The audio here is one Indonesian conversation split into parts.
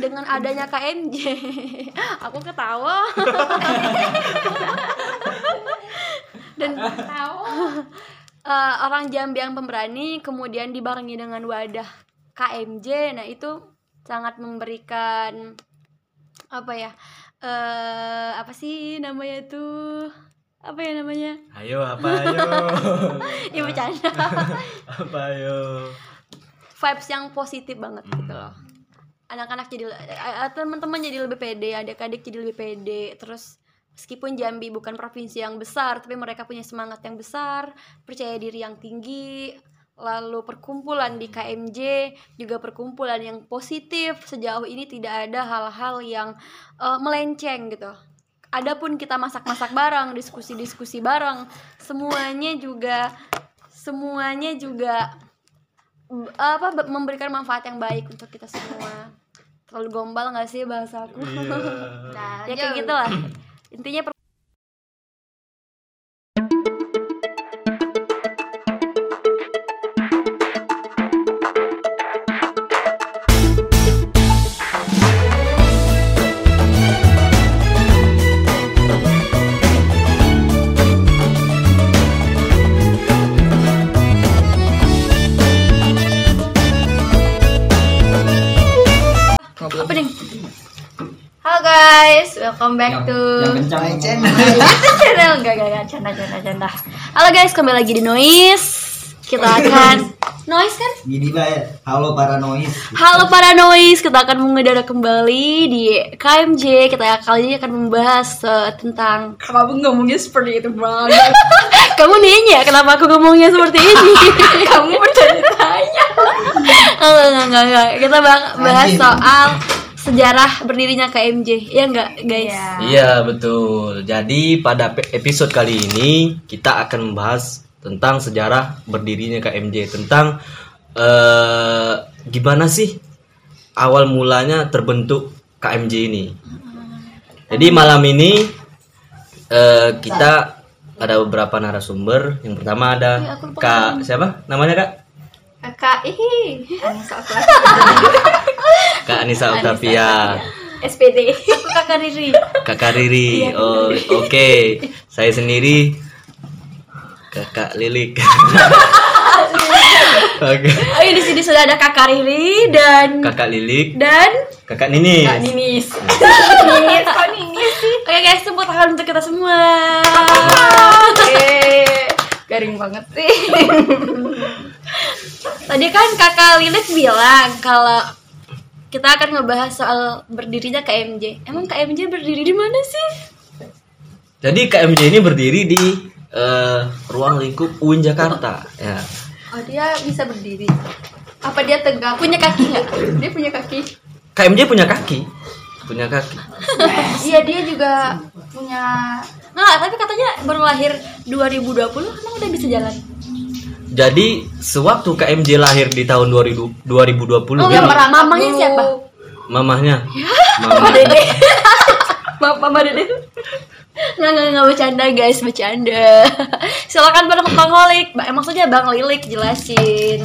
dengan adanya KNJ aku ketawa dan Tahu. eh, orang Jambi yang pemberani kemudian dibarengi dengan wadah KMJ nah itu sangat memberikan apa ya eh apa sih namanya tuh apa ya namanya Ayo apa ayo? ya bercanda apa ayo? vibes yang positif banget gitu Hmm. loh anak-anak jadi eh, teman-teman jadi lebih pede adik-adik jadi lebih pede terus meskipun Jambi bukan provinsi yang besar tapi mereka punya semangat yang besar percaya diri yang tinggi lalu perkumpulan di KMJ juga perkumpulan yang positif sejauh ini tidak ada hal-hal yang eh, melenceng gitu adapun kita masak-masak bareng diskusi-diskusi bareng semuanya juga semuanya juga b- apa be- memberikan manfaat yang baik untuk kita semua terlalu gombal nggak sih bahasa aku Iya. Nah, ya kayak lanjut. gitulah intinya per- apa ding Halo guys, welcome Nah, Ya. back to kencang channel enggak enggak enggak canda canda canda. halo guys kembali lagi di noise kita akan noise kan gini baik halo para noise Halo para noise, kita akan mengudara kembali di KMJ. Kita kali ini akan membahas eh, tentang Eh, Kenapa ngomongnya seperti itu banget? kamu nanya kenapa aku ngomongnya seperti ini? Kamu berceritanya. enggak, enggak, enggak, enggak. Kita bak- bahas Anjing. soal sejarah berdirinya KMJ. Ya enggak, guys? Iya. Iya betul. Jadi pada pe- episode kali ini kita akan membahas tentang sejarah berdirinya KMJ tentang eh, gimana sih awal mulanya terbentuk KMJ ini. Jadi malam ini eh, kita ada beberapa narasumber. Yang pertama ada Ih, aku lupa Kak siapa? Namanya Kak? Kakak ih. Kak Anissa Octavia. SPD. Aku kakak Riri. Kakak Riri. Iya, Oh, oke. Saya sendiri Kakak Lilik. Oke. Ayo Oh, iya, di sini sudah ada kakak Riri dan Kakak Lilik, dan Kakak Nini. Kak Ninis. Ninis kok Ninis sih? Oke guys, tepuk tangan untuk kita semua. Eh, Garing banget sih. Tadi kan kakak Lilit bilang kalau kita akan ngebahas soal berdirinya KMJ. Emang KMJ berdiri di mana sih? Jadi KMJ ini berdiri di eh, ruang lingkup UIN Jakarta. Ya. Oh, dia bisa berdiri. Apa dia tegak? Punya kaki nggak? Dia punya kaki. KMJ punya kaki. Punya kaki. Iya, dia juga punya Nggak, tapi katanya baru lahir 2020, emang udah bisa jalan? Jadi sewaktu KMJ lahir di tahun 2000 2020 Oh, ini, merah. Mamanya dulu. siapa? mamahnya Mama. Ma- Mama Dede. Nggak, nggak, nggak, bercanda guys, bercanda Silakan Bang, Bang Holik, Ba- eh, maksudnya Bang Lilik jelasin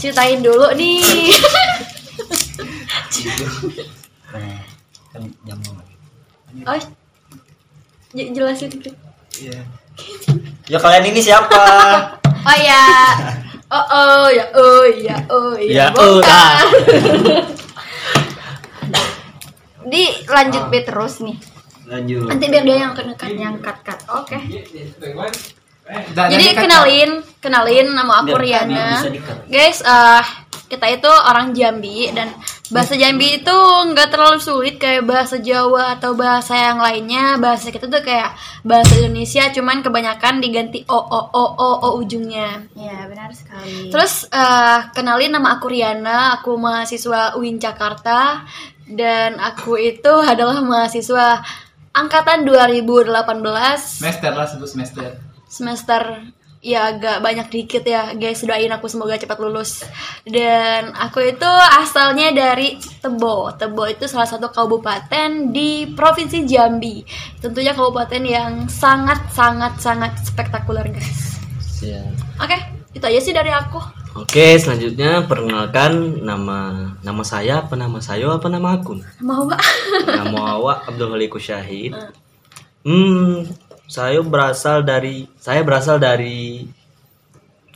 Ceritain dulu nih kan nyambung lagi. Oh, j- jelasin dikit. Iya. ya kalian ini siapa Oh ya. Oh oh ya oh ya oh Ya, Iya, ya. oh, ah. Di lanjut B terus nih. lanjut Nanti biar dia yang kenekan Yang cut cut. Oke. kan Jadi kenalin, kenalin nama aku Biar Riana. bisa dikat. Guys, eh kita itu orang Jambi dan bahasa Jambi itu nggak terlalu sulit kayak bahasa Jawa atau bahasa yang lainnya. Bahasa kita tuh kayak bahasa Indonesia, cuman kebanyakan diganti o o o o o ujungnya. Ya benar sekali. Terus eh, kenalin nama aku Riana, aku mahasiswa UIN Jakarta dan aku itu adalah mahasiswa angkatan 2018 semester lah sebut semester semester ya agak banyak dikit ya guys doain aku semoga cepat lulus dan aku itu asalnya dari Tebo Tebo itu salah satu kabupaten di provinsi Jambi tentunya kabupaten yang sangat sangat sangat spektakuler guys Siap. oke itu aja sih dari aku Ya. Oke, selanjutnya perkenalkan nama nama saya, apa nama saya, apa nama aku? Mau nggak? Nama awak Nah, Abdul Haliku Syahid. Hmm, saya berasal dari saya berasal dari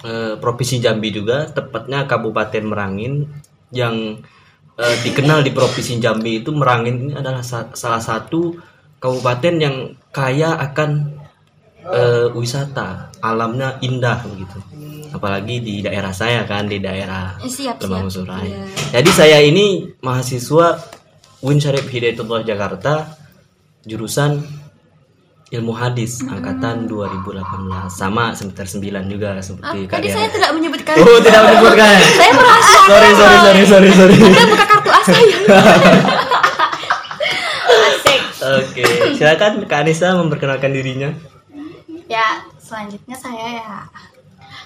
eh, provinsi Jambi juga, tepatnya Kabupaten Merangin yang eh, dikenal di provinsi Jambi itu Merangin ini adalah sa- salah satu kabupaten yang kaya akan eh, wisata, alamnya indah begitu. Apalagi di daerah saya kan, di daerah Eh, siap, siap. Lembah Musurai. Iya. Jadi saya ini mahasiswa Win Syarif Hidayatullah Jakarta jurusan Ilmu Hadis Hmm. angkatan 2018 sama semester 9 juga Ah, seperti tadi kalian. saya tidak menyebutkan. Oh, tidak menyebutkan. Saya merasa. sorry, sorry, sorry, sorry, sorry. Anda buka kartu as saya. Asik. Oke, silakan Kak Anissa memperkenalkan dirinya. Ya, selanjutnya saya ya.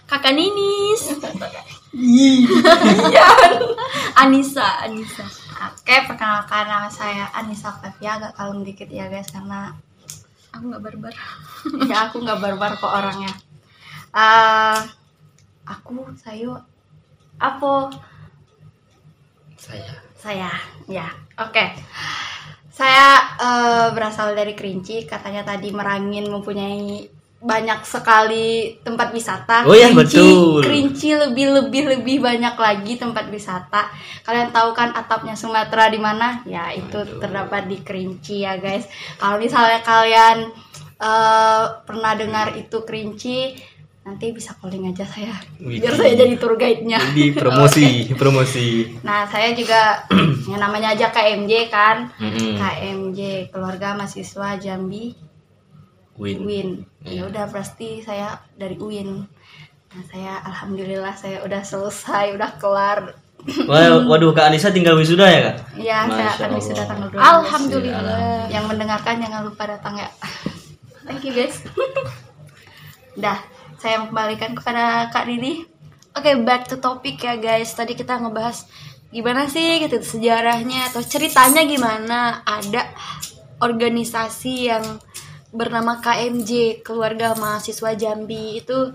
Kakak Ninis. Iya. Anissa, Anissa. Oke, perkenalkan nama saya Anissa Fatia agak kalem dikit ya guys karena Aku nggak barbar. ya aku nggak barbar kok orangnya. Eh, aku sayu apa Saya. saya ya oke saya eh, berasal dari Kerinci katanya tadi merangin mempunyai banyak sekali tempat wisata Oh iya, Kerinci- betul. Kerinci lebih lebih lebih banyak lagi tempat wisata kalian tahu kan atapnya Sumatera di mana ya itu terdapat di Kerinci ya guys kalau misalnya kalian eh, pernah dengar itu Kerinci nanti bisa calling aja saya biar Widih. Iya, saya jadi tour guide-nya Jadi promosi, promosi. Nah, saya juga yang namanya aja KMJ kan. Mm-mm. KMJ Keluarga Mahasiswa Jambi Win. UIN. Iya. Ya udah pasti saya dari UIN. Nah, saya alhamdulillah saya udah selesai, udah kelar. Wah, waduh Kak Anissa tinggal wisuda ya, Kak? Ya, Masya saya akan wisuda Allah. tanggal Alhamdulillah. 12. Yang mendengarkan jangan lupa datang ya. Thank you guys. Dah, saya kembalikan kepada Kak Didi. Oke, back to topic ya guys. Tadi kita ngebahas gimana sih gitu sejarahnya atau ceritanya gimana ada organisasi yang bernama KMJ Keluarga Mahasiswa Jambi itu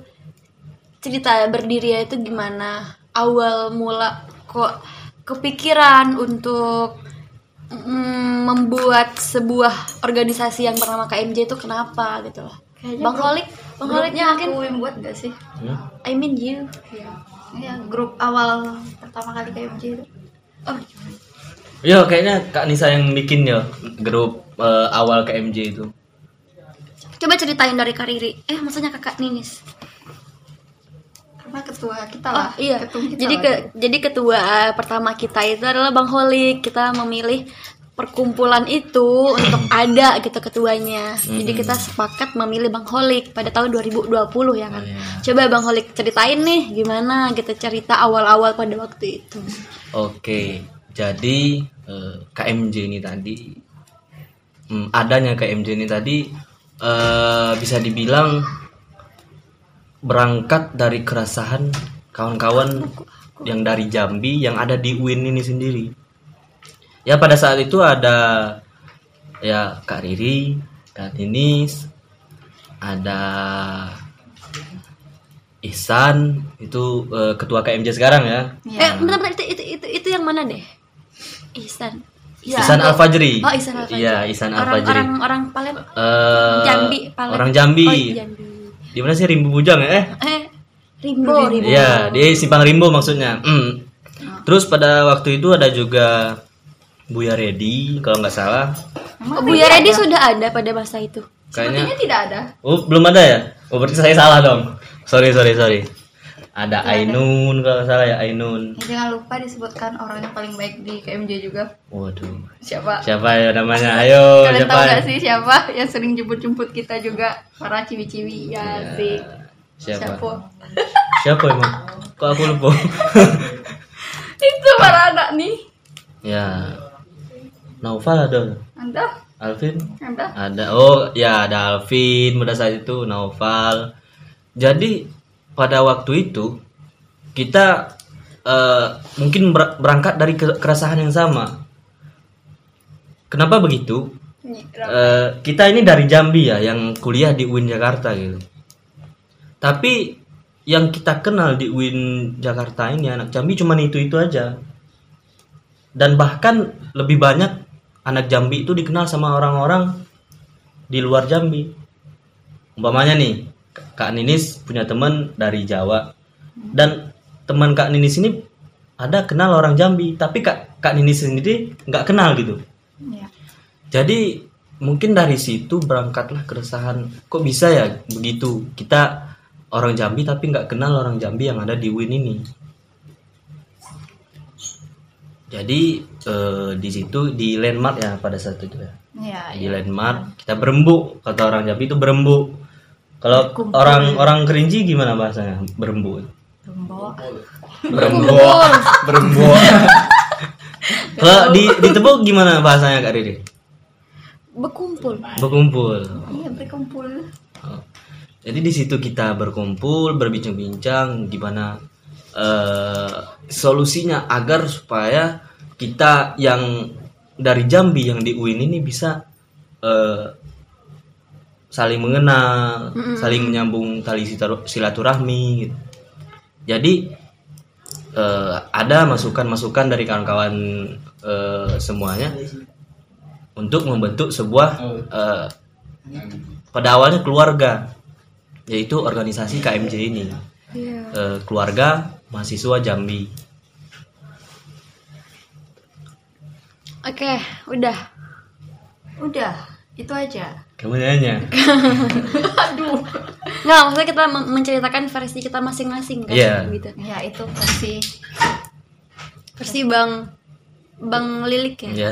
cerita berdirinya itu gimana awal mula kok kepikiran untuk mm, membuat sebuah organisasi yang bernama KMJ itu kenapa gitu loh. Kayaknya Bang grup- Holik, Bang Holik Grupnya mungkin aku yang buat gak sih? Hmm? I mean you. Ya, grup awal pertama kali KMJ itu. Oh, Yo, kayaknya Kak Nisa yang bikin ya grup eh, awal KMJ itu. Coba ceritain dari Kariri. Eh, maksudnya Kakak Ninis. Karena ketua kita Oh, lah. iya. ketum kita Jadi lah. ke, jadi ketua eh, pertama kita itu adalah Bang Holik. Kita memilih perkumpulan itu untuk ada gitu ketuanya. Jadi kita sepakat memilih Bang Holik pada tahun 2020 ya kan. Oh, iya. Coba Bang Holik ceritain nih gimana kita cerita awal-awal pada waktu itu. Oke, jadi eh, KMJ ini tadi hmm, adanya KMJ ini tadi eh, bisa dibilang berangkat dari keresahan kawan-kawan yang dari Jambi yang ada di UIN ini sendiri. Ya pada saat itu ada ya Kak Riri, Kak Ninis, ada Ihsan itu eh, ketua KMJ sekarang ya. Iya. Eh, bentar-bentar itu, itu itu itu yang mana deh? Ihsan. Iya. Ihsan Al-Fajri. Oh, Ihsan Al-Fajri. Iya, Ihsan Orang Al-Fajri. orang orang Palembang. Eh, Jambi, Palembang. Orang Jambi. Oh, iya, Jambi. Di mana sih Rimbu Bujang ya? Eh? Eh, Rimbo, Rimbo. Iya, di Simpang Rimbo maksudnya. Oh. Mm. Terus pada waktu itu ada juga Buya Redi kalau nggak salah. Oh, ya? Buya Redi sudah ada pada masa itu. Sepertinya Kayaknya tidak ada. Oh, belum ada ya? Oh, berarti saya salah dong. Sorry, sorry, sorry. Ada Ainun kalau nggak salah ya Ainun. Ya, jangan lupa disebutkan orang yang paling baik di KMJ juga. Waduh. Siapa? Siapa ya namanya? Ayo, Kalian siapa? ya? tahu gak sih siapa yang sering jemput-jemput kita juga para ciwi-ciwi ya sih. Iya, Siapa? Siapa? Siapa emang? Kok aku lupa? Itu para anak nih. ya. Naufal ada. Anda, Alvin? Anda. Ada oh ya ada Alvin pada saat itu Naufal. Jadi pada waktu itu kita eh, mungkin ber- berangkat dari ke- keresahan yang sama. Kenapa begitu? Eh, kita ini dari Jambi ya yang kuliah di UIN Jakarta gitu. Tapi yang kita kenal di UIN Jakarta ini anak Jambi cuman itu-itu aja. Dan bahkan lebih banyak anak Jambi itu dikenal sama orang-orang di luar Jambi. Umpamanya nih, Kak Ninis punya teman dari Jawa. Dan teman Kak Ninis ini ada kenal orang Jambi, tapi Kak Kak Ninis sendiri nggak kenal gitu. Iya. Jadi mungkin dari situ berangkatlah keresahan. Kok bisa ya begitu? Kita orang Jambi tapi nggak kenal orang Jambi yang ada di Win ini. Jadi eh, di situ di landmark ya pada saat itu ya. Iya, Di landmark kita berembuk kata orang Jambi itu berembuk. Kalau Berkumpul. orang orang Kerinci gimana bahasanya? Berembuk. Gembok. Berembuk. berembuk. Kalau di di Tebuk gimana bahasanya Kak Riri? Berkumpul. Berkumpul. Iya, berkumpul. Oh. Jadi di situ kita berkumpul, berbincang-bincang gimana eh, solusinya agar supaya kita yang dari Jambi yang di UIN ini bisa eh, saling mengenal, saling menyambung tali sitar- silaturahmi. gitu. Jadi eh, ada masukan-masukan dari kawan-kawan eh, semuanya untuk membentuk sebuah eh, pada awalnya keluarga yaitu organisasi KMJ ini Iya. Eh, keluarga mahasiswa Jambi Oke, udah. Udah, itu aja. kemudiannya Aduh. Nggak, maksudnya kita men- menceritakan versi kita masing-masing kan Iya. gitu. Ya, itu versi Versi Bang Bang Lilik ya. ya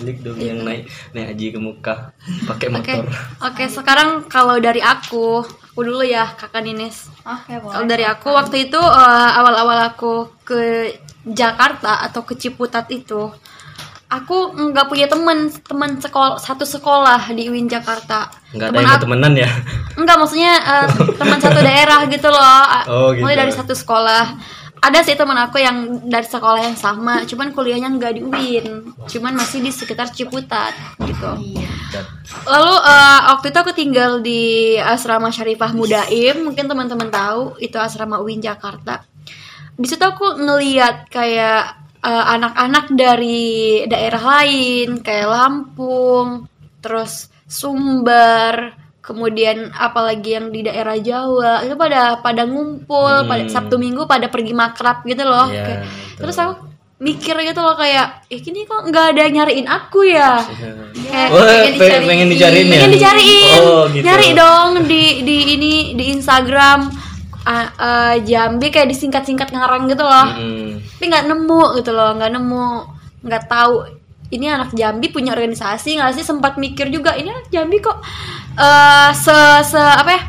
milik dong yang naik naik haji ke Mekah pakai Oke, motor oke. Sekarang kalau dari aku, aku dulu ya kakak Nines. Ah, ya Kalau boleh. dari aku waktu itu eh, awal-awal aku ke Jakarta atau ke Ciputat itu, aku nggak punya teman teman sekolah satu sekolah di UIN Jakarta. nggak ada Teman yang aku- temenan ya Enggak maksudnya eh, teman satu daerah gitu loh. A- Oh, gitu. Mulai dari satu sekolah. Ada sih teman aku yang dari sekolah yang sama, cuman kuliahnya nggak di UIN, cuman masih di sekitar Ciputat gitu. Iya. Lalu eh, waktu itu aku tinggal di asrama Syarifah Mudaim, mungkin teman-teman tahu itu asrama UIN Jakarta. Di situ aku ngeliat kayak eh, anak-anak dari daerah lain, kayak Lampung, terus Sumbar, kemudian apalagi yang di daerah Jawa itu pada pada ngumpul, pada Hmm. Sabtu Minggu pada pergi makrab gitu loh. Iya, Kayak- betul. Terus aku mikir gitu loh kayak, eh ini kok nggak ada yang nyariin aku Iya ya? Eh, Kayak- Wah, pengen, pengen dicariin ya? Pengen dicariin. Oh, gitu. Nyari dong di di ini di Instagram ah, eh, Jambi kayak disingkat-singkat ngarang gitu loh. Mm-mm. Tapi nggak nemu gitu loh, nggak nemu, nggak tahu ini anak Jambi punya organisasi nggak sih sempat mikir juga ini anak Jambi kok eh se se apa ya?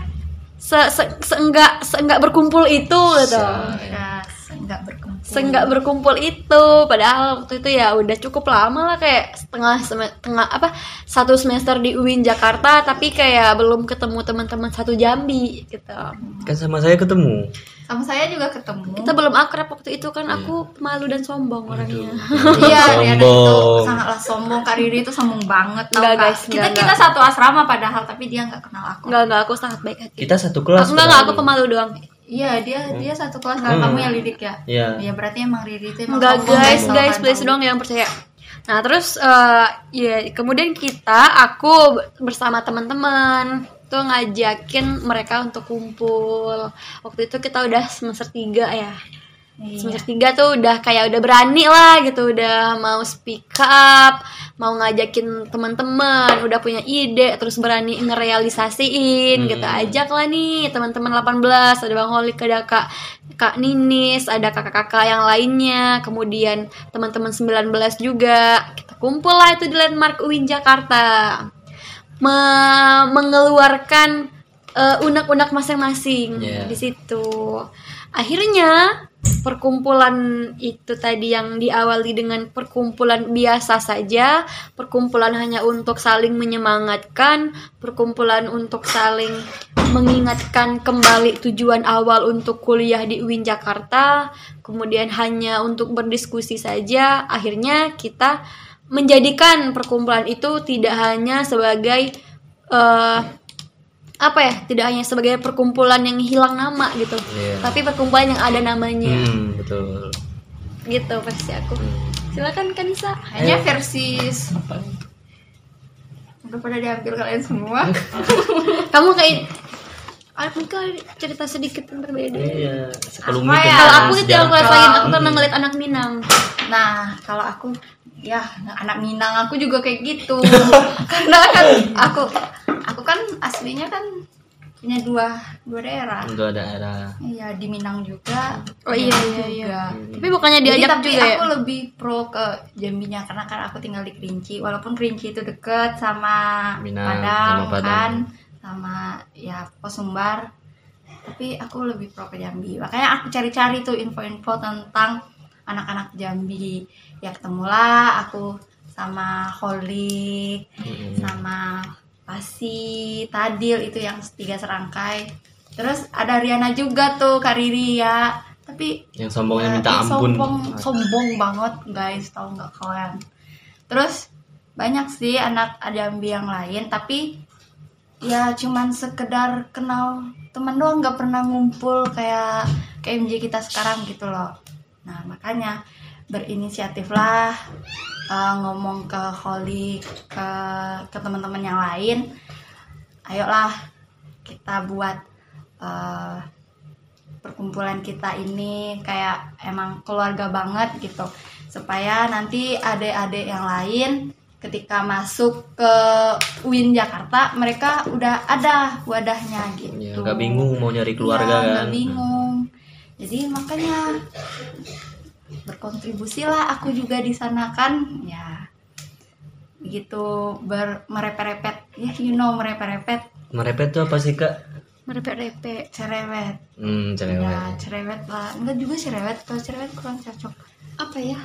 Se, se, seenggak seenggak berkumpul itu gitu Nah, nggak berkumpul. seenggak berkumpul itu padahal waktu itu ya udah cukup lama lah kayak setengah seme- tengah apa satu semester di UIN Jakarta tapi kayak belum ketemu teman-teman satu Jambi gitu kan sama saya ketemu Sama saya juga ketemu. kita belum akrab waktu itu kan aku malu dan sombong orangnya kan Iya, Rian itu Sombong. sangatlah sombong. Kariri itu sombong banget tau Enggak, nggak? guys, Kita enggak, kita enggak. satu asrama padahal tapi dia nggak kenal aku. nggak nggak aku sangat baik hati kita satu aku kelas nggak nggak aku padahal. pemalu doang Iya, dia Hmm. dia satu kelas sama kamu yang lidik ya. Iya. Iya, berarti emang Riri itu emang Enggak sombong dan guys, sopan guys tau. please dong yang percaya. Nah terus eh, ya kemudian kita aku bersama teman-teman tuh ngajakin mereka untuk kumpul. Waktu itu kita udah semester 3 ya. Iya. Semester 3 tuh udah kayak udah berani lah gitu, udah mau speak up, mau ngajakin teman-teman, udah punya ide, terus berani ngerealisasiin gitu. Ajak lah nih teman-teman 18, ada Bang Holik, ada Kak Kak Ninis, ada kakak-kakak yang lainnya, kemudian teman-teman 19 juga. Kita kumpul lah itu di Landmark UIN Jakarta. Me- mengeluarkan eh, unek-unek masing-masing Iya. di situ. Akhirnya perkumpulan itu tadi yang diawali dengan perkumpulan biasa saja, perkumpulan hanya untuk saling menyemangatkan, perkumpulan untuk saling mengingatkan kembali tujuan awal untuk kuliah di UIN Jakarta, kemudian hanya untuk berdiskusi saja. Akhirnya kita menjadikan perkumpulan itu tidak hanya sebagai eh, apa ya tidak hanya sebagai perkumpulan yang hilang nama gitu Iya. tapi perkumpulan yang ada namanya Hmm, betul. Hmm. gitu versi aku silakan Kanisa Hanya versis Udah pada diambil kalian semua kamu kayak aku kan cerita sedikit yang berbeda Iya, Apa ya? kalau aku itu yang aku sejarah. rasain aku Hmm. pernah ngeliat anak Minang Nah, kalau aku ya anak Minang aku juga kayak gitu. Karena kan aku aku kan aslinya kan punya dua dua ya. daerah. Untuk daerah. Iya, di Minang juga. Oh, iya, Jambi iya, iya. juga. tapi bukannya Jadi, diajak tapi juga ya aku lebih pro ke Jambinya karena kan aku tinggal di Kerinci. Walaupun Kerinci itu deket sama Minang, Padang, sama Padang. kan, sama ya Posumbar. Tapi aku lebih pro ke Jambi. Makanya aku cari-cari tuh info-info tentang anak-anak Jambi. Ya ketemulah aku sama Holik, Mm. sama Pasi, Tadil itu yang tiga serangkai. Terus ada Riana juga tuh, Kak Riri ya. Tapi Yang sombongnya eh, minta Ih, ampun. Nah, iya, Nah, iya. Sombong, sombong banget guys, tahu nggak kalian? Terus banyak sih anak Jambi yang lain, tapi ya cuman sekedar kenal teman doang nggak pernah ngumpul kayak KMJ kita sekarang gitu loh. Nah makanya berinisiatiflah eh, ngomong ke Holly ke ke teman-teman yang lain, ayolah kita buat eh, perkumpulan kita ini kayak emang keluarga banget gitu supaya nanti adik-adik yang lain ketika masuk ke UIN Jakarta mereka udah ada wadahnya Ya, gitu nggak bingung mau nyari keluarga Iya, nggak kan. bingung jadi makanya berkontribusilah aku juga di sana kan ya begitu ber merepet-repet ya you know merepet-repet Merepet tuh apa sih, Kak? merepet-repet cerewet Hmm, cewek. Ya, cerewet lah. Enggak juga cerewet, kalau cerewet kurang cocok. Apa ya?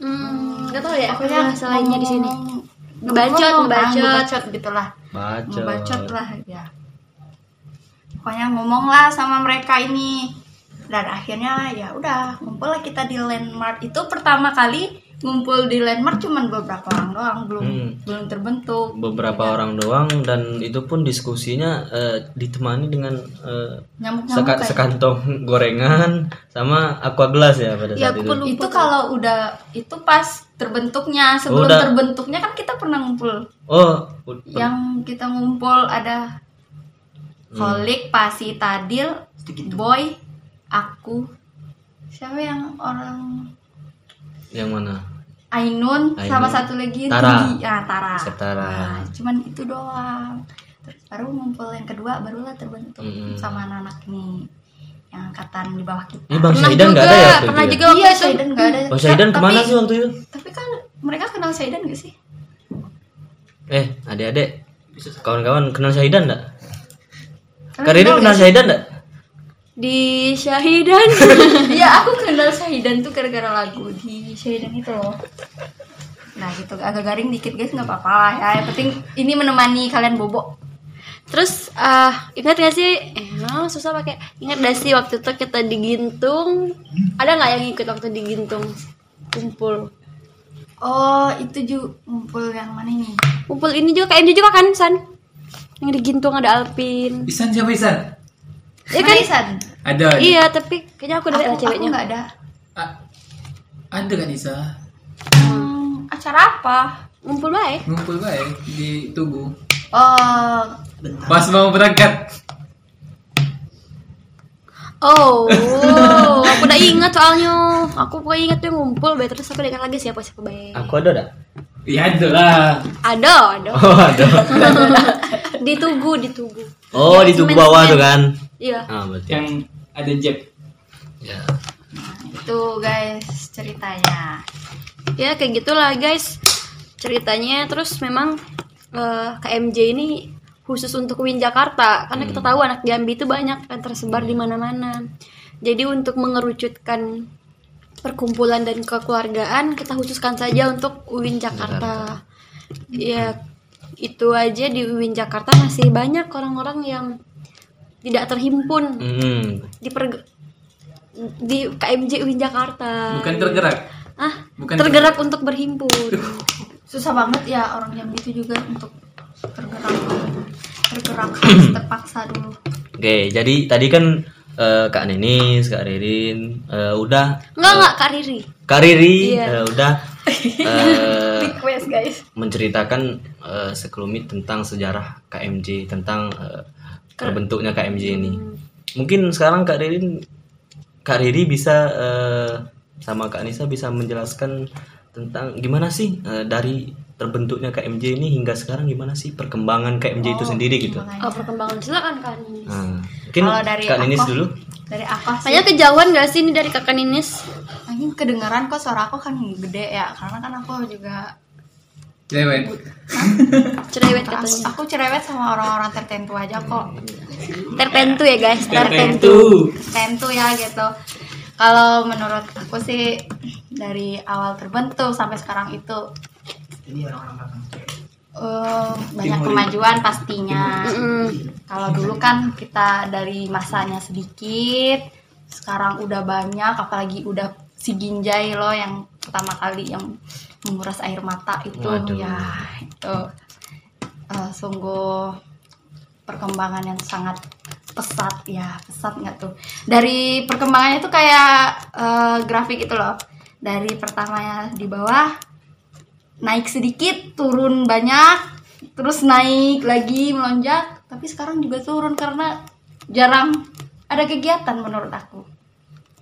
hmm nggak tahu ya aku Pokoknya rasa lainnya di sini Oh, ngomong- Ngebacot, ngomong, ah, ngebacot. ngebacot gitu lah. Bacot. Ngebacot lah ya. Pokoknya ngomong lah sama mereka ini. Dan akhirnya ya udah, ngumpul lah kita di landmark. Itu pertama kali ngumpul di landmark cuman beberapa orang doang, belum Hmm. belum terbentuk. Iya. Beberapa orang doang dan itu pun diskusinya eh, ditemani dengan eh, Nyamuk-nyamuk seka- kayak- gitu. sekantong gorengan sama aqua gelas ya pada Ya, saat aku itu. perlu- itu kalau udah itu pas terbentuknya sebelum Udah. terbentuknya kan kita pernah ngumpul Oh, u- yang kita ngumpul ada Hmm. Holik, Pasi, Tadil, Boy, aku, siapa yang orang yang mana? Ainun, sama Ainun. satu lagi yang Tara. tinggi. Ah, Tara. Setara. Nah, cuman itu doang. Terus baru ngumpul yang kedua barulah terbentuk Mm-mm. sama anak-anak nih yang angkatan di bawah kita. Ini Bang pernah Saidan juga nggak ada ya? waktu pernah itu ya? juga waktu Iya, itu Saidan nggak ada. Bang Saidan Tapi- Oh, kemana sih waktu itu? Tapi kan mereka kenal Saidan gak sih? Eh, adik-adik, kawan-kawan kenal Saidan enggak? Kalian Kak Riri kenal kenal nggak Saidan enggak? di Syahidan Iya, aku kenal Syahidan tuh gara-gara lagu di Syahidan itu loh. Nah gitu, agak garing dikit guys, nggak apa-apa lah ya. Yang penting ini menemani kalian bobo. Terus eh ingat gak sih? Eh, no, susah pakai. Ingat gak sih waktu itu kita di Gintung? Ada nggak yang ikut waktu di Gintung? Kumpul. Oh, itu juga ngumpul yang mana ini? Kumpul ini juga KMD juga kan, San? Yang di Gintung ada Alpin. Isan siapa Isan? Ya kan? Isan? Ada. Iya, tapi kayaknya aku udah ada Aku, aku ceweknya. nggak ada. A- ada kan Isa? Hmm, acara apa? Kumpul baik. Ngumpul baik di Tugu. Oh, Pas mau berangkat. Oh, aku udah ingat soalnya. Aku pokoknya ingat tuh yang ngumpul baik terus aku udah ingat lagi siapa siapa baik. Aku ada enggak? Iya ada lah. Ada, ada. Oh, ada. Ditunggu, ditunggu. Oh, di tubuh bawah tuh kan. Iya. Ah, berarti. Yang ada jet. Ya. itu guys ceritanya. ya kayak gitulah guys ceritanya terus memang eh, KMJ ini khusus untuk Win Jakarta karena kita tahu anak Jambi itu banyak yang tersebar di mana-mana jadi untuk mengerucutkan perkumpulan dan kekeluargaan kita khususkan saja untuk UIN Jakarta ya itu aja di UIN Jakarta masih banyak orang-orang yang tidak terhimpun Hmm. di per- di KMJ UIN Jakarta Bukan tergerak. ah Bukan tergerak untuk berhimpun gitu Susah banget ya orang yang itu juga untuk tergerak. bergerak harus terpaksa dulu Oke, jadi tadi kan eh, Kak Nenis, Kak Ririn eh, udah Enggak enggak Kak Riri. Kak Riri Iya. eh, udah eh, request guys menceritakan eh, sekelumit tentang sejarah KMJ, tentang eh, terbentuknya KMJ ini. Hmm. Mungkin sekarang Kak Ririn Kak Riri bisa eh, sama Kak Nisa bisa menjelaskan tentang gimana sih eh, dari terbentuknya KMJ ini hingga sekarang gimana sih perkembangan KMJ itu sendiri gitu. Makanya. Oh, perkembangan silakan Kak Ninis. Nah, mungkin ya? Kalau dari Kak Nenis aku- dulu. dari aku sih Kayaknya kejauhan gak sih ini dari Kakak Ninis? Mungkin kedengaran kok suara aku kan gede ya karena kan aku juga Cewek. Cerewet aku, katanya. aku cerewet sama orang-orang tertentu aja kok Tertentu ya guys, tertentu. Tertentu. tertentu ya gitu kalau menurut aku sih dari awal terbentuk sampai sekarang itu Ini orang-orang belakang. eh, banyak Timurin. kemajuan pastinya Mm-mm. kalau dulu kan kita dari masanya sedikit sekarang udah banyak apalagi udah si Ginjai loh yang pertama kali yang menguras air mata itu Waduh. ya itu eh, sungguh perkembangan yang sangat pesat ya pesat nggak tuh dari perkembangannya tuh kayak eh, grafik itu loh dari pertamanya di bawah naik sedikit, turun banyak, terus naik lagi melonjak, tapi sekarang juga turun karena jarang ada kegiatan menurut aku.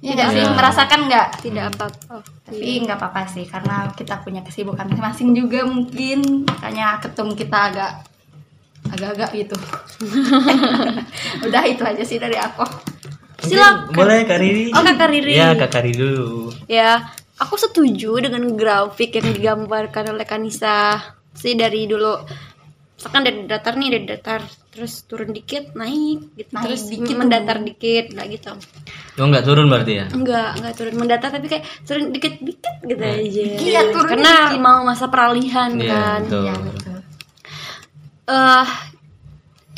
Ya nggak sih Iya. merasakan nggak? Tidak apa-apa. Oh, Tapi nggak apa-apa sih karena kita punya kesibukan masing-masing juga mungkin makanya ketum kita agak agak-agak gitu. Udah itu aja sih dari aku. Mungkin Silakan. Boleh Kak Riri? Oh, Kakak Riri. Iya, Kak Riri dulu. Ya, aku setuju dengan grafik yang digambarkan oleh Kanisa. Sih dari dulu misalkan dari datar nih dari datar terus turun dikit naik gitu Naik terus dikit, mendatar dikit lah gitu Oh, nggak turun berarti ya? enggak enggak turun mendatar tapi kayak turun dikit dikit gitu aja Iya, turun karena mau masa peralihan Iya, kan betul. Ya betul. eh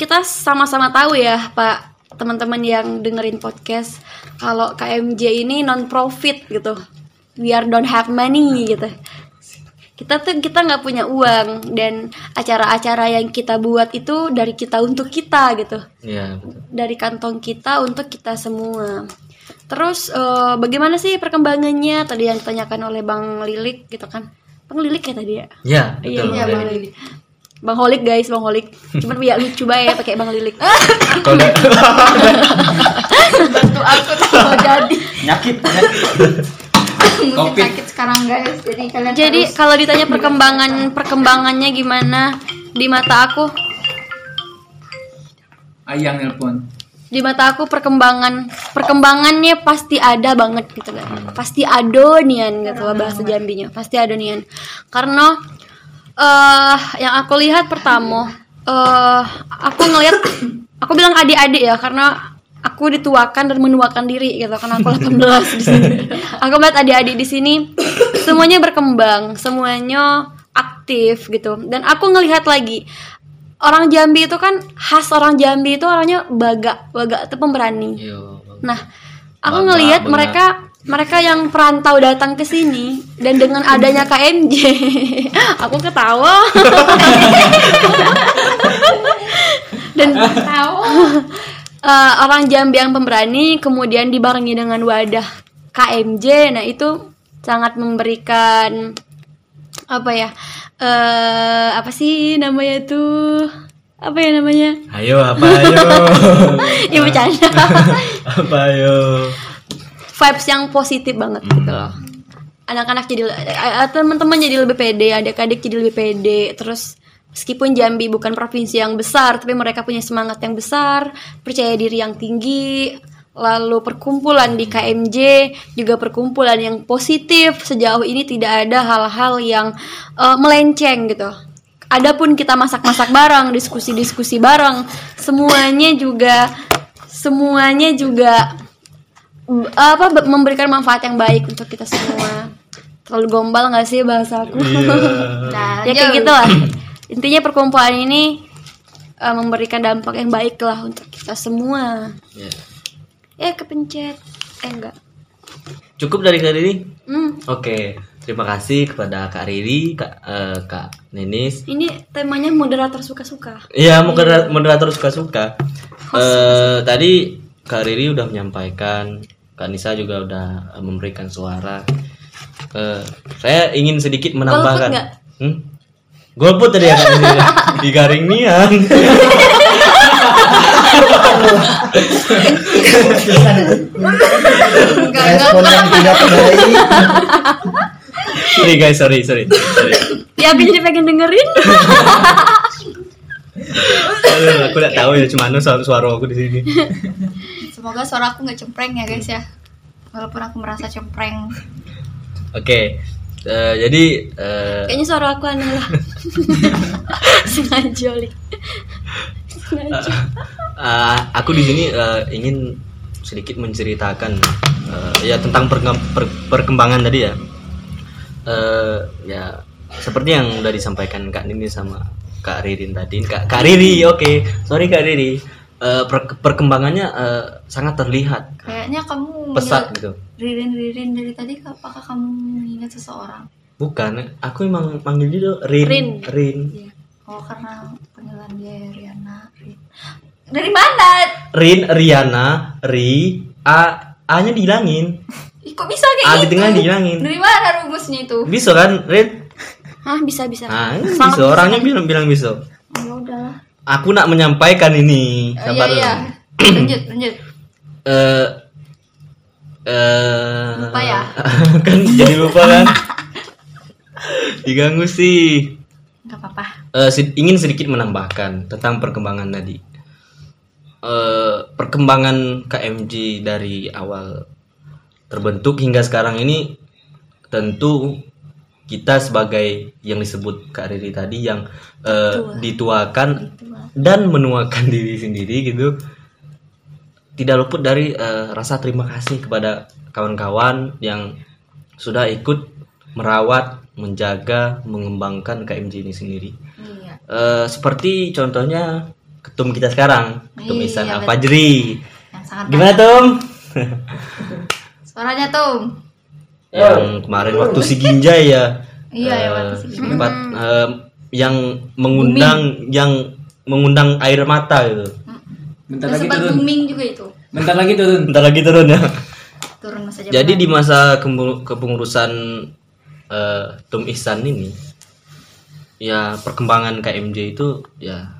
kita sama-sama tahu ya Pak teman-teman yang dengerin podcast kalau KMJ ini non profit gitu we are don't have money gitu kita tuh kita nggak punya uang dan acara-acara yang kita buat itu dari kita untuk kita gitu Iya, betul. dari kantong kita untuk kita semua. Terus eh, bagaimana sih perkembangannya tadi yang ditanyakan oleh Bang Lilik gitu kan? Bang Lilik ya tadi ya? Iya, Iya, betul. iya, Kak Bang Riri. Lilik. Bang Holik guys, Bang Holik. Cuman ya lucu banget ya pakai Bang Lilik. Kalau nggak- Bantu aku tuh mau jadi Nyakit, nyakit. mungkin Covid. sakit sekarang guys. Jadi kalian Jadi harus- kalau ditanya perkembangan perkembangannya gimana di mata aku? Ayang nelpon. Di mata aku perkembangan perkembangannya pasti ada banget gitu kan. Pasti adonian gitu lah bahasa Jambinya. Pasti adonian. Karena eh yang aku lihat pertama eh aku ngelihat aku bilang adik-adik ya karena aku dituakan dan menuakan diri gitu karena aku 18 di sini. Aku melihat adik-adik di sini semuanya berkembang, semuanya aktif gitu. Dan aku ngelihat lagi orang Jambi itu kan khas orang Jambi itu orangnya baga, baga itu pemberani. Iya, Nah, aku Bangga, ngelihat benar. mereka mereka yang perantau datang ke sini dan dengan adanya KMJ, aku ketawa. dan tahu eh, orang Jambi yang pemberani kemudian dibarengi dengan wadah KMJ, nah itu sangat memberikan apa ya? eh apa sih namanya itu? Apa ya namanya? Ayo, apa ayo? Ya bercanda. apa ayo? vibes yang positif banget gitu loh anak-anak jadi eh, eh, teman-teman jadi lebih pede adik-adik jadi lebih pede terus meskipun Jambi bukan provinsi yang besar tapi mereka punya semangat yang besar percaya diri yang tinggi lalu perkumpulan di KMJ juga perkumpulan yang positif sejauh ini tidak ada hal-hal yang eh, melenceng gitu Adapun kita masak-masak bareng, diskusi-diskusi bareng, semuanya juga semuanya juga mm, apa be- memberikan manfaat yang baik untuk kita semua. Terlalu gombal nggak sih bahasa aku? Iya. Nah, ya kayak gitu lah. Intinya perkumpulan ini eh, memberikan dampak yang baik lah untuk kita semua. Iya. Eh kepencet, eh enggak. Cukup dari Kak Riri? Hmm. Oke. Terima kasih kepada Kak Riri, Kak, eh, Kak Nenis. Ini temanya moderator suka-suka. Iya, modera- moderator suka-suka. Eh, tadi Kak Riri udah menyampaikan, Kak Nisa juga udah eh, memberikan suara. Eh, saya ingin sedikit menambahkan. nggak? Hmm? Golput tadi ya Kak Nisa. di garing ya. nian. Enggak, Respon yang tidak baik. sorry guys, sorry, sorry. sorry. Ya aku jadi pengen dengerin. Aduh, aku nggak tahu ya cuma anu suara, suara aku di sini. Semoga suara aku nggak cempreng ya guys ya. Walaupun aku merasa cempreng. Oke. eh, jadi eh, Kayaknya suara aku aneh lah. Sengaja Li. Sengaja. Eh, aku di sini eh, ingin sedikit menceritakan eh, ya tentang perkemb- per- perkembangan tadi ya. Eh, ya seperti yang udah disampaikan Kak Nini sama Kak Ririn tadi. Kak, Kak Riri, oke. Sorry Kak Riri. Eh, per- perkembangannya eh, sangat terlihat Kayaknya kamu pesat gitu. ririn-ririn dari tadi apakah kamu mengingat seseorang? Bukan, aku emang manggil dia Rin. Rin. Rin. Oh karena panggilan dia Riana. Rin. Dari mana? Rin, Riana, Ri, A, A-nya dihilangin. Ih, Kok bisa kayak A Ah, di gitu? tengah dihilangin. Dari mana rumusnya itu? Bisa kan, Rin? Hah, bisa-bisa. Ah, ini bisa orangnya bilang bilang bisa. Ya udahlah. Aku nak menyampaikan ini. Eh, Sabar iya, dulu. iya. lanjut, lanjut. Eh eh Lupa ya? kan jadi lupa kan. Diganggu sih. Enggak apa-apa. Eh, sed- ingin sedikit menambahkan tentang perkembangan tadi. Eh, perkembangan KMG dari awal terbentuk hingga sekarang ini tentu kita sebagai yang disebut Kak Riri tadi yang eh, dituakan dan menuakan diri sendiri gitu tidak luput dari eh, rasa terima kasih kepada kawan-kawan yang sudah ikut merawat, menjaga, mengembangkan KMJ ini sendiri. Iya. Eh, seperti contohnya ketum kita sekarang, ketum Iya, Ihsan Al betul. Fajri. Yang sangat Gimana Tom? Suaranya tuh. yang kemarin waktu si Ginjai ya. Iya, eh, yang waktu si Ginjai. sempat, eh, yang mengundang yang mengundang air mata gitu. Bentar Terus lagi sempat turun. booming juga itu. Bentar lagi turun. Bentar lagi turun ya. Turun masa jabatan. Jadi di masa kembu- kepengurusan eh, Tum Ihsan ini ya perkembangan KMJ itu ya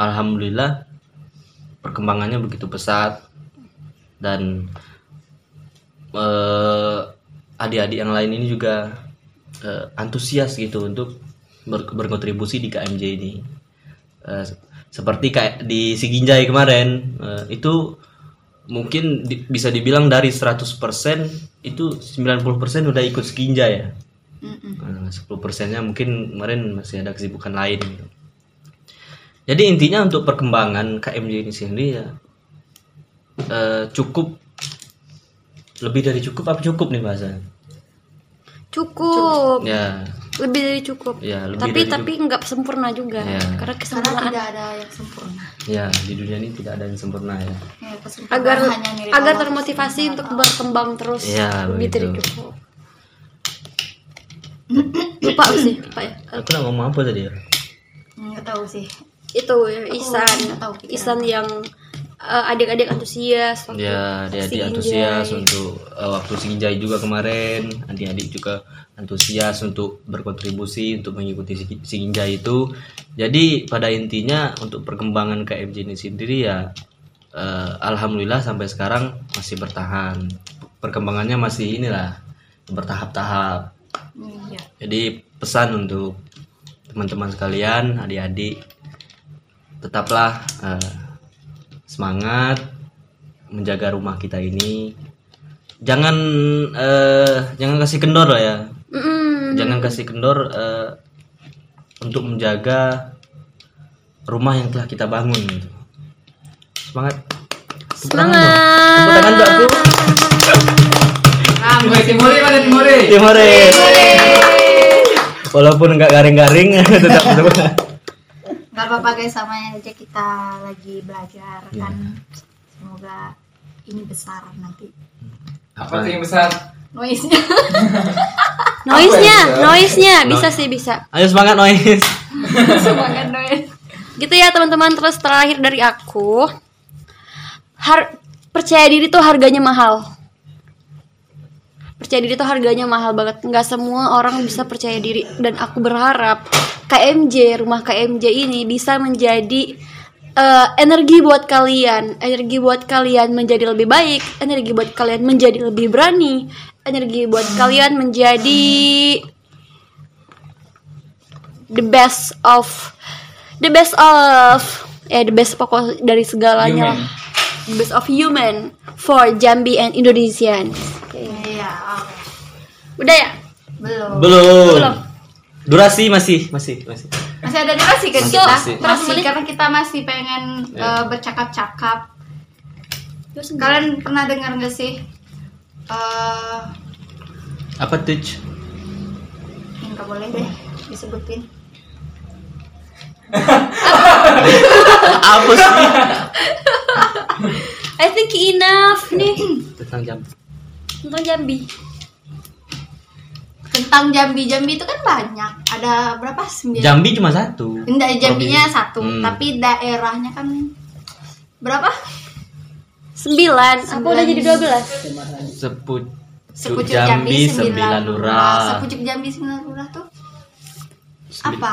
alhamdulillah perkembangannya begitu pesat dan eh, adik-adik yang lain ini juga eh, antusias gitu untuk ber- berkontribusi di KMJ ini. Eh, se- seperti kayak di Siginjai kemarin eh, itu mungkin di- bisa dibilang dari 100% itu 90% udah ikut Siginjai ya. Eh, Mm-mm. 10%-nya mungkin kemarin masih ada kesibukan lain gitu. Jadi intinya untuk perkembangan KMJ ini sendiri ya eh, cukup lebih dari cukup apa cukup nih bahasa? Cukup. Iya, Ya, Lebih dari cukup. ya lebih tapi dari tapi nggak sempurna juga. Iya. Karena Karena kesempurnaan tidak ada yang sempurna. Ya, di dunia ini tidak ada yang sempurna ya. Ya, kesempurnaan agar hanya milik agar Allah. termotivasi untuk berkembang terus Iya, lebih dari begitu. cukup. lupa aku sih lupa ya Aku nak ngomong apa tadi ya? Nggak tahu sih. itu ya, Isan nggak tahu pikiran. Isan yang eh, adik-adik antusias waktu Ya, adik-adik Sinjai. antusias untuk eh, waktu Sinjai juga kemarin, adik-adik juga antusias untuk berkontribusi untuk mengikuti Si- Sinjai itu. Jadi pada intinya untuk perkembangan KMJ ini sendiri ya eh, alhamdulillah sampai sekarang masih bertahan. Perkembangannya masih inilah bertahap-tahap. Iya. Jadi pesan untuk teman-teman sekalian, adik-adik, tetaplah eh, semangat menjaga rumah kita ini. Jangan eh, jangan kasih kendor lah ya. Mm-mm. Jangan kasih kendor eh, untuk menjaga rumah yang telah kita bangun. gitu. Semangat. Tepuk tangan dong. Tepuk tangan semangat dong, aku. Ah, Timore, Timore, mana Timore? Timore. Walaupun nggak garing-garing tetap tepuk tangan. Gak apa-apa guys, sama aja kita lagi belajar kan. Semoga ini besar nanti. Apa tuh yang besar? noise-nya. Noise-nya, Apa ya? noise-nya bisa sih bisa. Ayo semangat noise. Semangat noise. gitu ya teman-teman terus terakhir dari aku har percaya diri tuh harganya mahal percaya diri tuh harganya mahal banget nggak semua orang bisa percaya diri dan aku berharap KMJ rumah KMJ ini bisa menjadi eh, energi buat kalian energi buat kalian menjadi lebih baik energi buat kalian menjadi lebih berani energi buat kalian menjadi the best of the best of ya the best pokok dari segalanya lah. The best of human for Jambi and Indonesian. Iya, oke. Udah ya? belum. Belum. Belum. Durasi masih, masih, masih. Masih ada durasi kan Masih, kita? masih. Masih, Masih. karena kita masih pengen Iya. eh, bercakap-cakap. Kalian pernah dengar nggak sih? Eh, Apa tuh? nggak boleh deh disebutin. Apa sih? I think enough nih Tentang jam. tentang Jambi. Tentang Jambi, Jambi itu kan banyak. Ada berapa? Sembilan. Jambi cuma satu. Iya. Enggak, Jambinya satu, Hmm. tapi daerahnya kan berapa? Sembilan. Aku udah Sembilan. jadi dua belas. Seput. Sepucuk Jambi, Jambi, sembilan sembilan lurah. lurah. Sepucuk Jambi sembilan lurah tuh apa?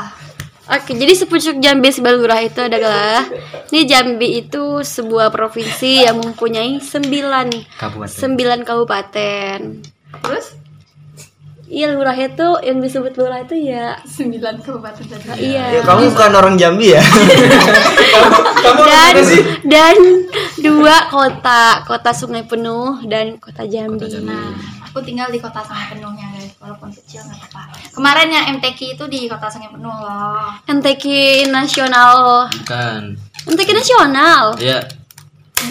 Oke, jadi sepucuk Jambi Sebalurah itu adalah Ini Jambi itu sebuah provinsi yang mempunyai sembilan Kabupaten. Sembilan kabupaten Terus Iya, lurah itu, yang disebut lurah itu ya sembilan kabupaten dan kota. Iya kamu bukan orang Jambi ya? dan dan dua kota kota sungai penuh dan kota Jambi. Nah, aku tinggal di kota Sungai Penuhnya guys, walaupun kecil nggak apa-apa. Kemarin yang MTQ itu di kota Sungai Penuh loh. NTK nasional, Bukan. NTK Oh. nasional, Ya,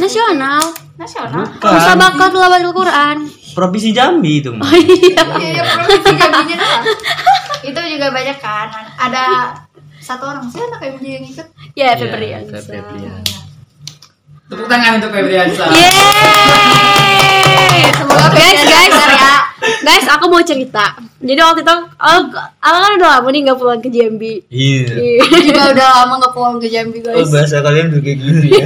nasional. Nasional. Musa bukan. bakal telawatil Quran. Provinsi Jambi itu. mah. Iya, iya, provinsi Jambinya tuh. Itu juga banyak kan. Ada satu orang sih anak MJ yang ikut. Ya, Iya, Febrian. Febrian. Tepuk tangan untuk Febriansa. Iya. Yeay! Semoga guys, guys, ya. Guys, aku mau cerita. Jadi waktu itu aku, aku kan udah lama nih nggak pulang ke Jambi. Iya. Juga udah lama nggak pulang ke Jambi Oh, guys. bahasa kalian juga kayak gitu ya.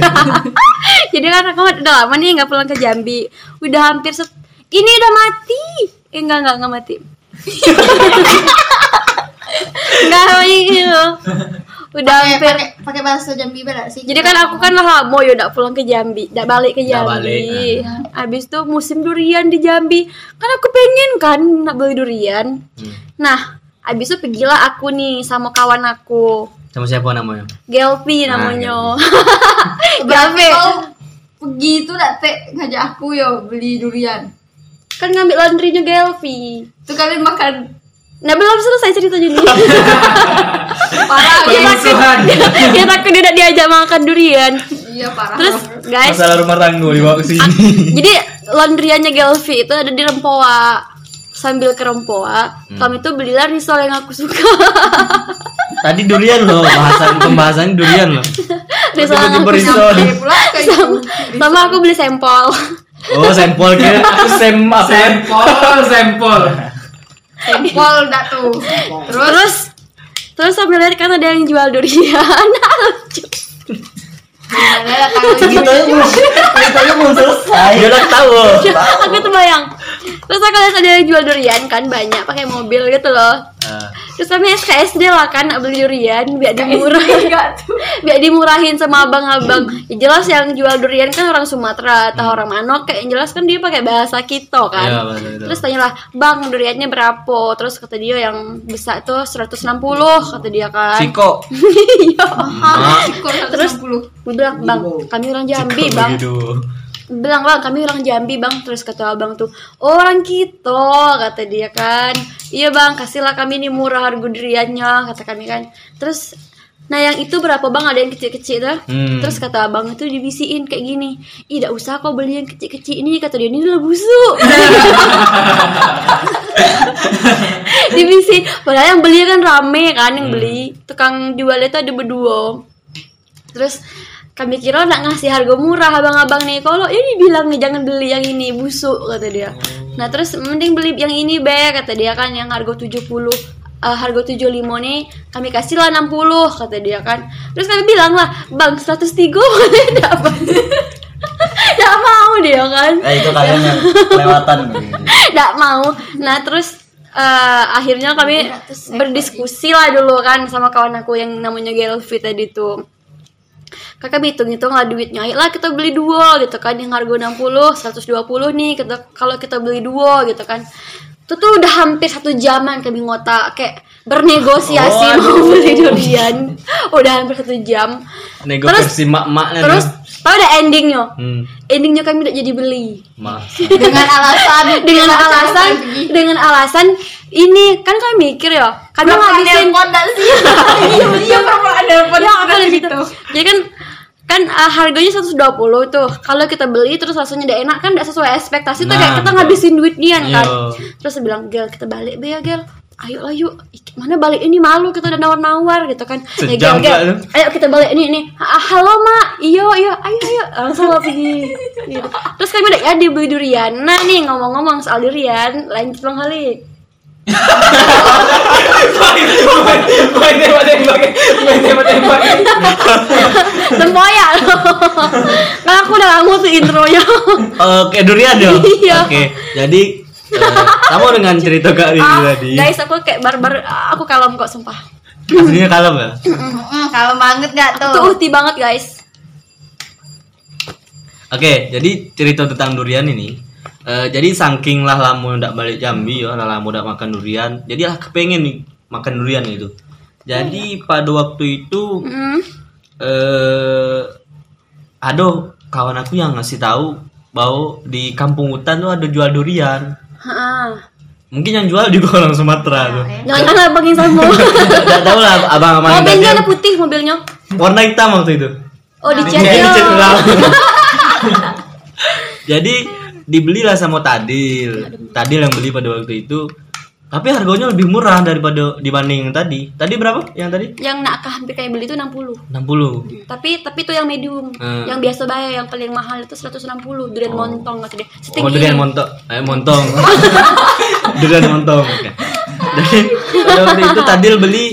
Jadi kan aku udah lama nih nggak pulang ke Jambi. Udah hampir set... ini udah mati. Eh enggak enggak enggak mati. Enggak gitu. Udah Pakai hampir. pakai pakai bahasa Jambi beda sih. Jadi kan aku kan lah mau ya udah pulang ke Jambi, udah balik ke Udah Jambi. balik, nah. Abis itu musim durian di Jambi. Kan aku pengen kan nak beli durian. Hmm. Nah, abis itu pergilah aku nih sama kawan aku. Sama siapa namanya? Gelpi Ah, namanya. Berarti Gabe. kau pergi itu dak teh ngajak aku yo beli durian. kan ngambil laundrynya Gelpi. Tuh kalian makan Nah belum selesai ceritanya nih parah. Dia guys. takut Dia takut dia tidak diajak makan durian Iya parah. Terus guys Masalah rumah tangga dibawa ke sini. Jadi laundryannya Gelvi itu ada di Rempoa Sambil ke Rempoa Kami tuh belilah risol yang aku suka Tadi durian loh, bahasan pembahasan dirian loh. Risol yang Tiba-tiba aku risol. suka Sampai pula ke sama, sama aku beli sampel Oh, sampel kira aku sem apa? ya? Sempol, sempol. Sempol dak tuh. Terus Terus Terus sambil lihat kan ada yang jual durian gimana datang lagi? Ceritanya belum selesai. Dia udah tahu. Aku tuh bayang Terus aku lihat ada yang jual durian kan banyak pakai mobil gitu loh Ah, Terus kami SKSD lah kan nak beli durian biar dimurahin biar dimurahin sama abang-abang. Ya, jelas yang jual durian kan orang Sumatera atau orang Manoke. Yang jelas kan dia pakai bahasa kita kan. Iya, betul-betul. Terus tanyalah, "Bang, duriannya berapa?" Terus kata dia yang besar tuh 160 kata dia kan. Ciko. Iya. Mahal kok 160. Gue bilang, "Bang, kami orang Jambi, Ciko Bang." Widodo. bilang bang kami orang Jambi bang terus kata abang tuh "Oh, orang kita kata dia kan iya bang kasihlah kami ini murah harga duriannya kata kami kan terus nah yang itu berapa bang ada yang kecil-kecil tuh Hmm. terus kata abang itu dibisiin kayak gini ih tidak usah kau beli yang kecil-kecil ini kata dia ini udah busuk dibisiin padahal yang beli kan rame kan yang beli tukang jualnya itu ada berdua terus kami kira nak ngasih harga murah abang-abang nih kalau ini bilang nih jangan beli yang ini busuk kata dia nah terus mending beli yang ini be kata dia kan yang harga 70 eh, harga 75 nih kami kasih lah 60 kata dia kan terus kami bilang lah bang 103 katanya "Nggak, Bang." nggak mau dia kan Eh itu kalian yang kelewatan. nggak mau nah terus eh, akhirnya kami berdiskusi lah dulu kan sama kawan aku yang namanya Gelfi tadi tuh kakak hitung-hitung lah duitnya ayolah kita beli duo gitu kan yang harga 60 120 nih kita kalau kita beli duo gitu kan itu tuh udah hampir satu jaman kami ngotak kayak bernegosiasi mau beli durian udah hampir satu jam Nego versi mak-maknya terus tau udah endingnya nih. hmm. endingnya kami udah jadi beli Masa. dengan alasan dengan alasan dengan alasan ini kan kami mikir ya kami ngabisin nggak sih iya iya perempuan nelpon ya apa gitu jadi kan kan uh, harganya 120 tuh kalau kita beli terus rasanya udah enak kan tidak sesuai ekspektasi tuh Nah, kayak kita betul. ngabisin duit dia kan Iya. terus dia bilang gel kita balik be ya gel ayo lah yuk Ih, mana balik ini malu kita udah nawar-nawar gitu kan "Ya, Gel, Gel, Sejam nggak lu? ayo kita balik ini ini "Ah, halo mak iyo iyo ayo ayo langsung lah pergi gitu. terus kami udah ya dibeli durian nah nih ngomong-ngomong soal durian lanjut bang Halik Main tembak tembak, main tembak tembak. Tempoyak loh. Kan aku udah gak mau tuh intronya. Oke durian dong. Iya. Oke jadi eh, sama dengan cerita Kak Rini Ah, tadi. guys, aku kayak barbar aku kalem kok sumpah. Aslinya kalem ya. kalau banget nggak tuh Tuh uti banget, guys. Oke, jadi cerita tentang durian ini. eh, jadi saking lah lamu ndak balik Jambi ya, lah lamu ndak makan durian. Jadi lah kepengen nih makan durian gitu. Iya. Jadi pada waktu itu Hmm. eh aduh kawan aku yang ngasih tahu bahwa di kampung hutan tuh ada jual durian. Heeh. Mungkin yang jual juga orang Sumatera tuh. Iya, Jangan-jangan abangin sama. Nggak tahu lah abang abang iya. Mobilnya ada putih mobilnya. warna hitam waktu itu. Oh, di Jadi chat iya, dicat ulang. Jadi dibelilah sama Tadil. Tadil yang beli pada waktu itu. Tapi harganya lebih murah daripada dibanding yang tadi. Tadi berapa yang tadi? Yang nak hampir kayak beli itu 60. 60. Tapi tapi tuh yang medium. Hmm. Yang biasa bayar yang paling mahal itu 160 durian montong kata dia. Setinggi. Oh, durian montok. Eh, montong. durian montong. Oke. Jadi pada waktu itu Tadil beli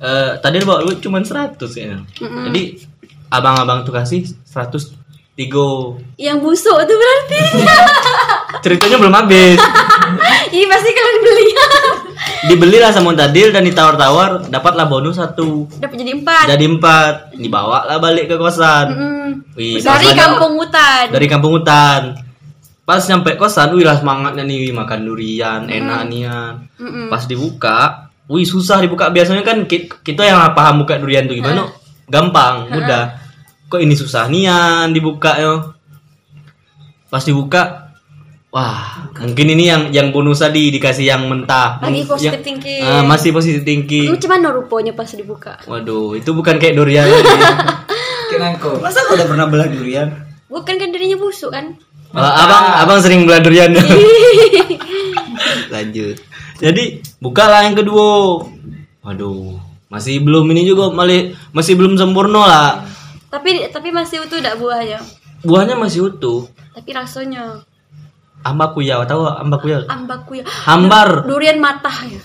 eh, Tadil bawa duit cuma 100 kayaknya. Jadi abang-abang tuh kasih 100 tigo. Yang busuk tuh berarti. Ceritanya belum habis. Ih, pasti kalian beli. dibelilah sama Tadil dan ditawar-tawar dapatlah bonus satu Dapat jadi empat. jadi empat dibawa lah balik ke kosan Mm. Wih, pas Dari balik- kampung hutan. dari kampung hutan pas nyampe kosan wih lah semangatnya nih wih, makan durian enak nian Mm-mm. pas dibuka wih susah dibuka biasanya kan ki- kita yang paham buka durian tuh Eh. gimana gampang mudah kok ini susah nian dibuka yo pas dibuka wah mungkin ini yang yang bonus tadi dikasih yang mentah Lagi Yang- positive thinking. Mm. Ah, masih positif tinggi Lu cuman rupanya pas dibuka. Waduh, itu bukan kayak durian lagi. Kenangko. Masa kau udah pernah belah durian? Bukan kan dirinya busuk kan? Malah Ah, abang, abang sering belah durian. Iya, Lanjut. Jadi, bukalah yang kedua. Waduh, masih belum ini juga mali- masih belum sempurna lah. Tapi tapi masih utuh dak buahnya. Buahnya masih utuh. Tapi rasanya Ambakuya, tahu ambakuya? ambaku ya. Hambar, Durian matah ya.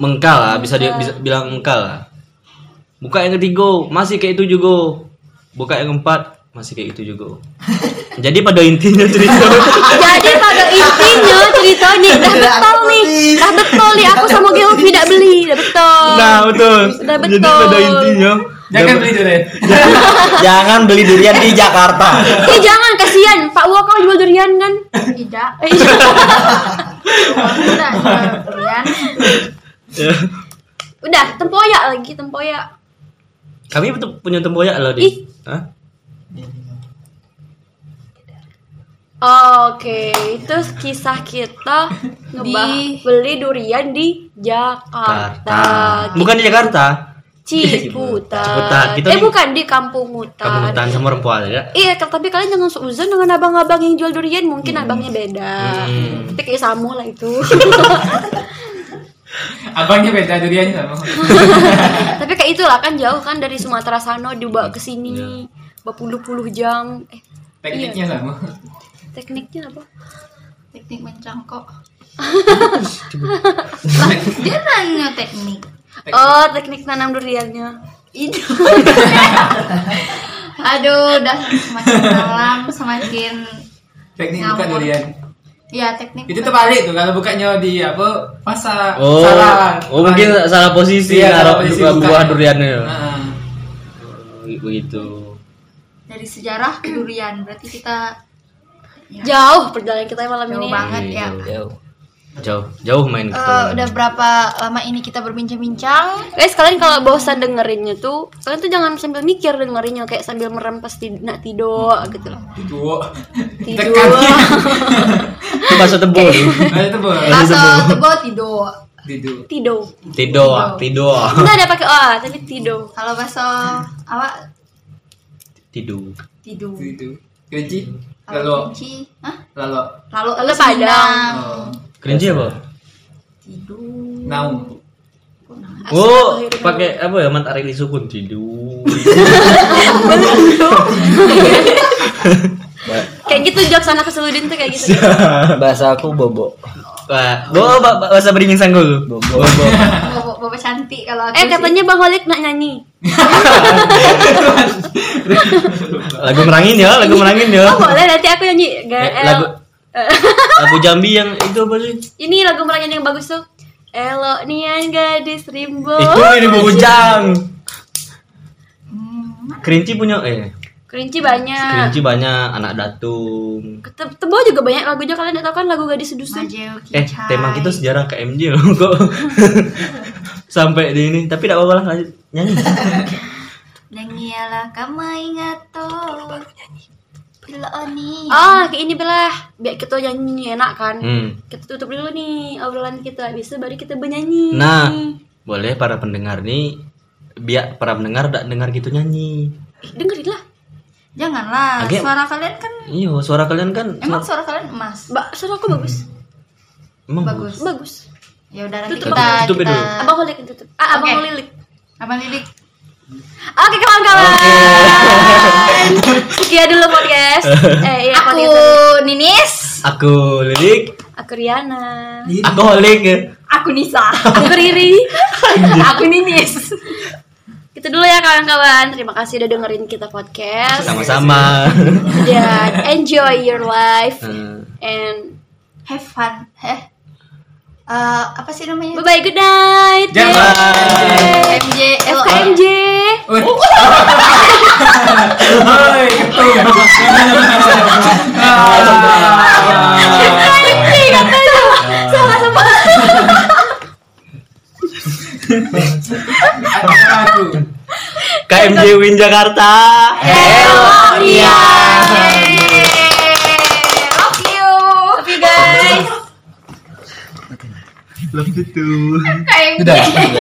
mengkal lah, bisa dia bisa bilang mengkal lah. Buka yang ketiga, masih kayak itu juga. Buka yang keempat, masih kayak itu juga. Jadi pada intinya Oh. cerita Jadi pada intinya cerita nih dah betul nih. Dah betul nih aku sama Gil tidak beli, dah betul. Nah betul. Sudah betul. Jadi pada intinya Jangan beli durian. Jangan beli durian di Jakarta. Eh jangan kasihan Pak Wo kau jual durian kan? tidak eh, Eh, iya. tidak durian Udah, tempoyak lagi, tempoyak. kami betul- punya tempoyak loh Ih. di. Hah? Oke, itu kisah kita ngebah beli durian di Jakarta. Bukan di Jakarta. Ciputat. Ciputat. Kita eh di- bukan di kampung hutan. Kampung hutan sama perempuan ya. Iya, ke- tapi kalian jangan seuzon dengan abang-abang yang jual durian, mungkin Hmm. abangnya beda. Tapi kayak samo lah itu. Abangnya beda duriannya sama. tapi kayak itulah kan jauh kan dari Sumatera sana dibawa ke sini. Iya. berpuluh-puluh jam eh Tekniknya lah, sama. tekniknya apa teknik mencangkok dia nanya teknik oh teknik tanam duriannya itu aduh udah semakin malam semakin Teknik bukan Ngawur. durian. ya teknik Itu terbalik tuh kalau bukannya di apa masa Oh, salah. oh mungkin salah posisi Iya, salah naruh posisi Ah. buah- bukan. buah duriannya. Heeh. Oh, Begitu. dari sejarah ke durian berarti kita jauh perjalanan kita malam Jauh ini banget. Banget ya. iya. Jauh. Jauh, jauh main eh, kita. udah berapa lama ini kita berbincang-bincang Guys, kalian kalau bosan dengerinnya tuh, kalian tuh jangan sambil mikir dengerinnya kayak sambil merem pas tid- nak tidur gitu loh. Tidur. Tidur. Itu bahasa tebal. Ada Eh, tuh Bos. Langsung tebo tidur Tidur. Tidur. Tidoa, tidoa. Enggak ada pakai oa, tapi tidur. Kalau bakso awak Tidur. tidur. Tidur. Kerinci. Lalu Kalau kunci, hah? lalu Lalu Lalu lalu padang. oh, Nah. Kerinci apa? Tidur. naung. Oh, pakai apa ya? Mantari lisukun tidur. Kayak gitu jokes anak keseludin tuh kayak gitu. Bahasa aku bobo. Wah, bawa ba- ba- bahasa beringin sanggul. Bobo. Bapak, bapak cantik kalau aku eh, sih. katanya Bang Holik nak nyanyi. Lagu merangin ya, lagu merangin ya. Oh, boleh nanti aku nyanyi. Eh, GL. Lagu lagu Jambi yang itu apa sih? Ini lagu merangin yang bagus tuh. Elok nian gadis rimbo. Oh. Itu Eh, ini Bu Ujang. Hmm. Kerinci punya eh Kerinci banyak. Ah. Kerinci banyak anak datung. Te- Tebo juga banyak lagunya kalian nggak tahu kan lagu gadis dusun. Majeo Kicai. Eh, tema gitu. kita sejarah ke MJ loh kok. Sampai di ini, tapi enggak apa-apa lah lanjut nyanyi. Nangialah kamu ingat toh. Bila oni. Ah, kayak ini belah. Biar kita nyanyi enak kan. Hmm. Kita tutup dulu nih obrolan kita. Habis itu baru kita bernyanyi. Nah, boleh para pendengar nih biar para pendengar enggak dengar gitu nyanyi. Eh, dengerin lah. Janganlah. Oke. Suara kalian kan Iya, suara kalian kan emang suara kalian emas. Mbak, suara aku bagus. emang Bagus. Bagus. Ya udah nanti Tutup, kita tutup kita dulu. Abang Holik yang tutup. Ah, Abang Oke. Holik. Abang Lilik. Oke kawan-kawan. Sekian dulu podcast. Eh, iya, Aku podcast tadi. Ninis. Aku lirik, aku Riana. aku holik ya. Aku Nisa. Aku Riri. aku Ninis. Gitu dulu ya kawan-kawan. Terima kasih udah dengerin kita podcast. Sama-sama. Iya Dan enjoy your life Eh, and Have fun. Eh. Eh, apa sih namanya? bye bye good night. Jangan. FKMJ FKMJ. Woi. Woi, ketum. Ah. FKMJ katanya. Salah semua. Aku. KMJ Win Jakarta. Eh, Iya. Love you Love you guys Love you too. FKMJ Udah.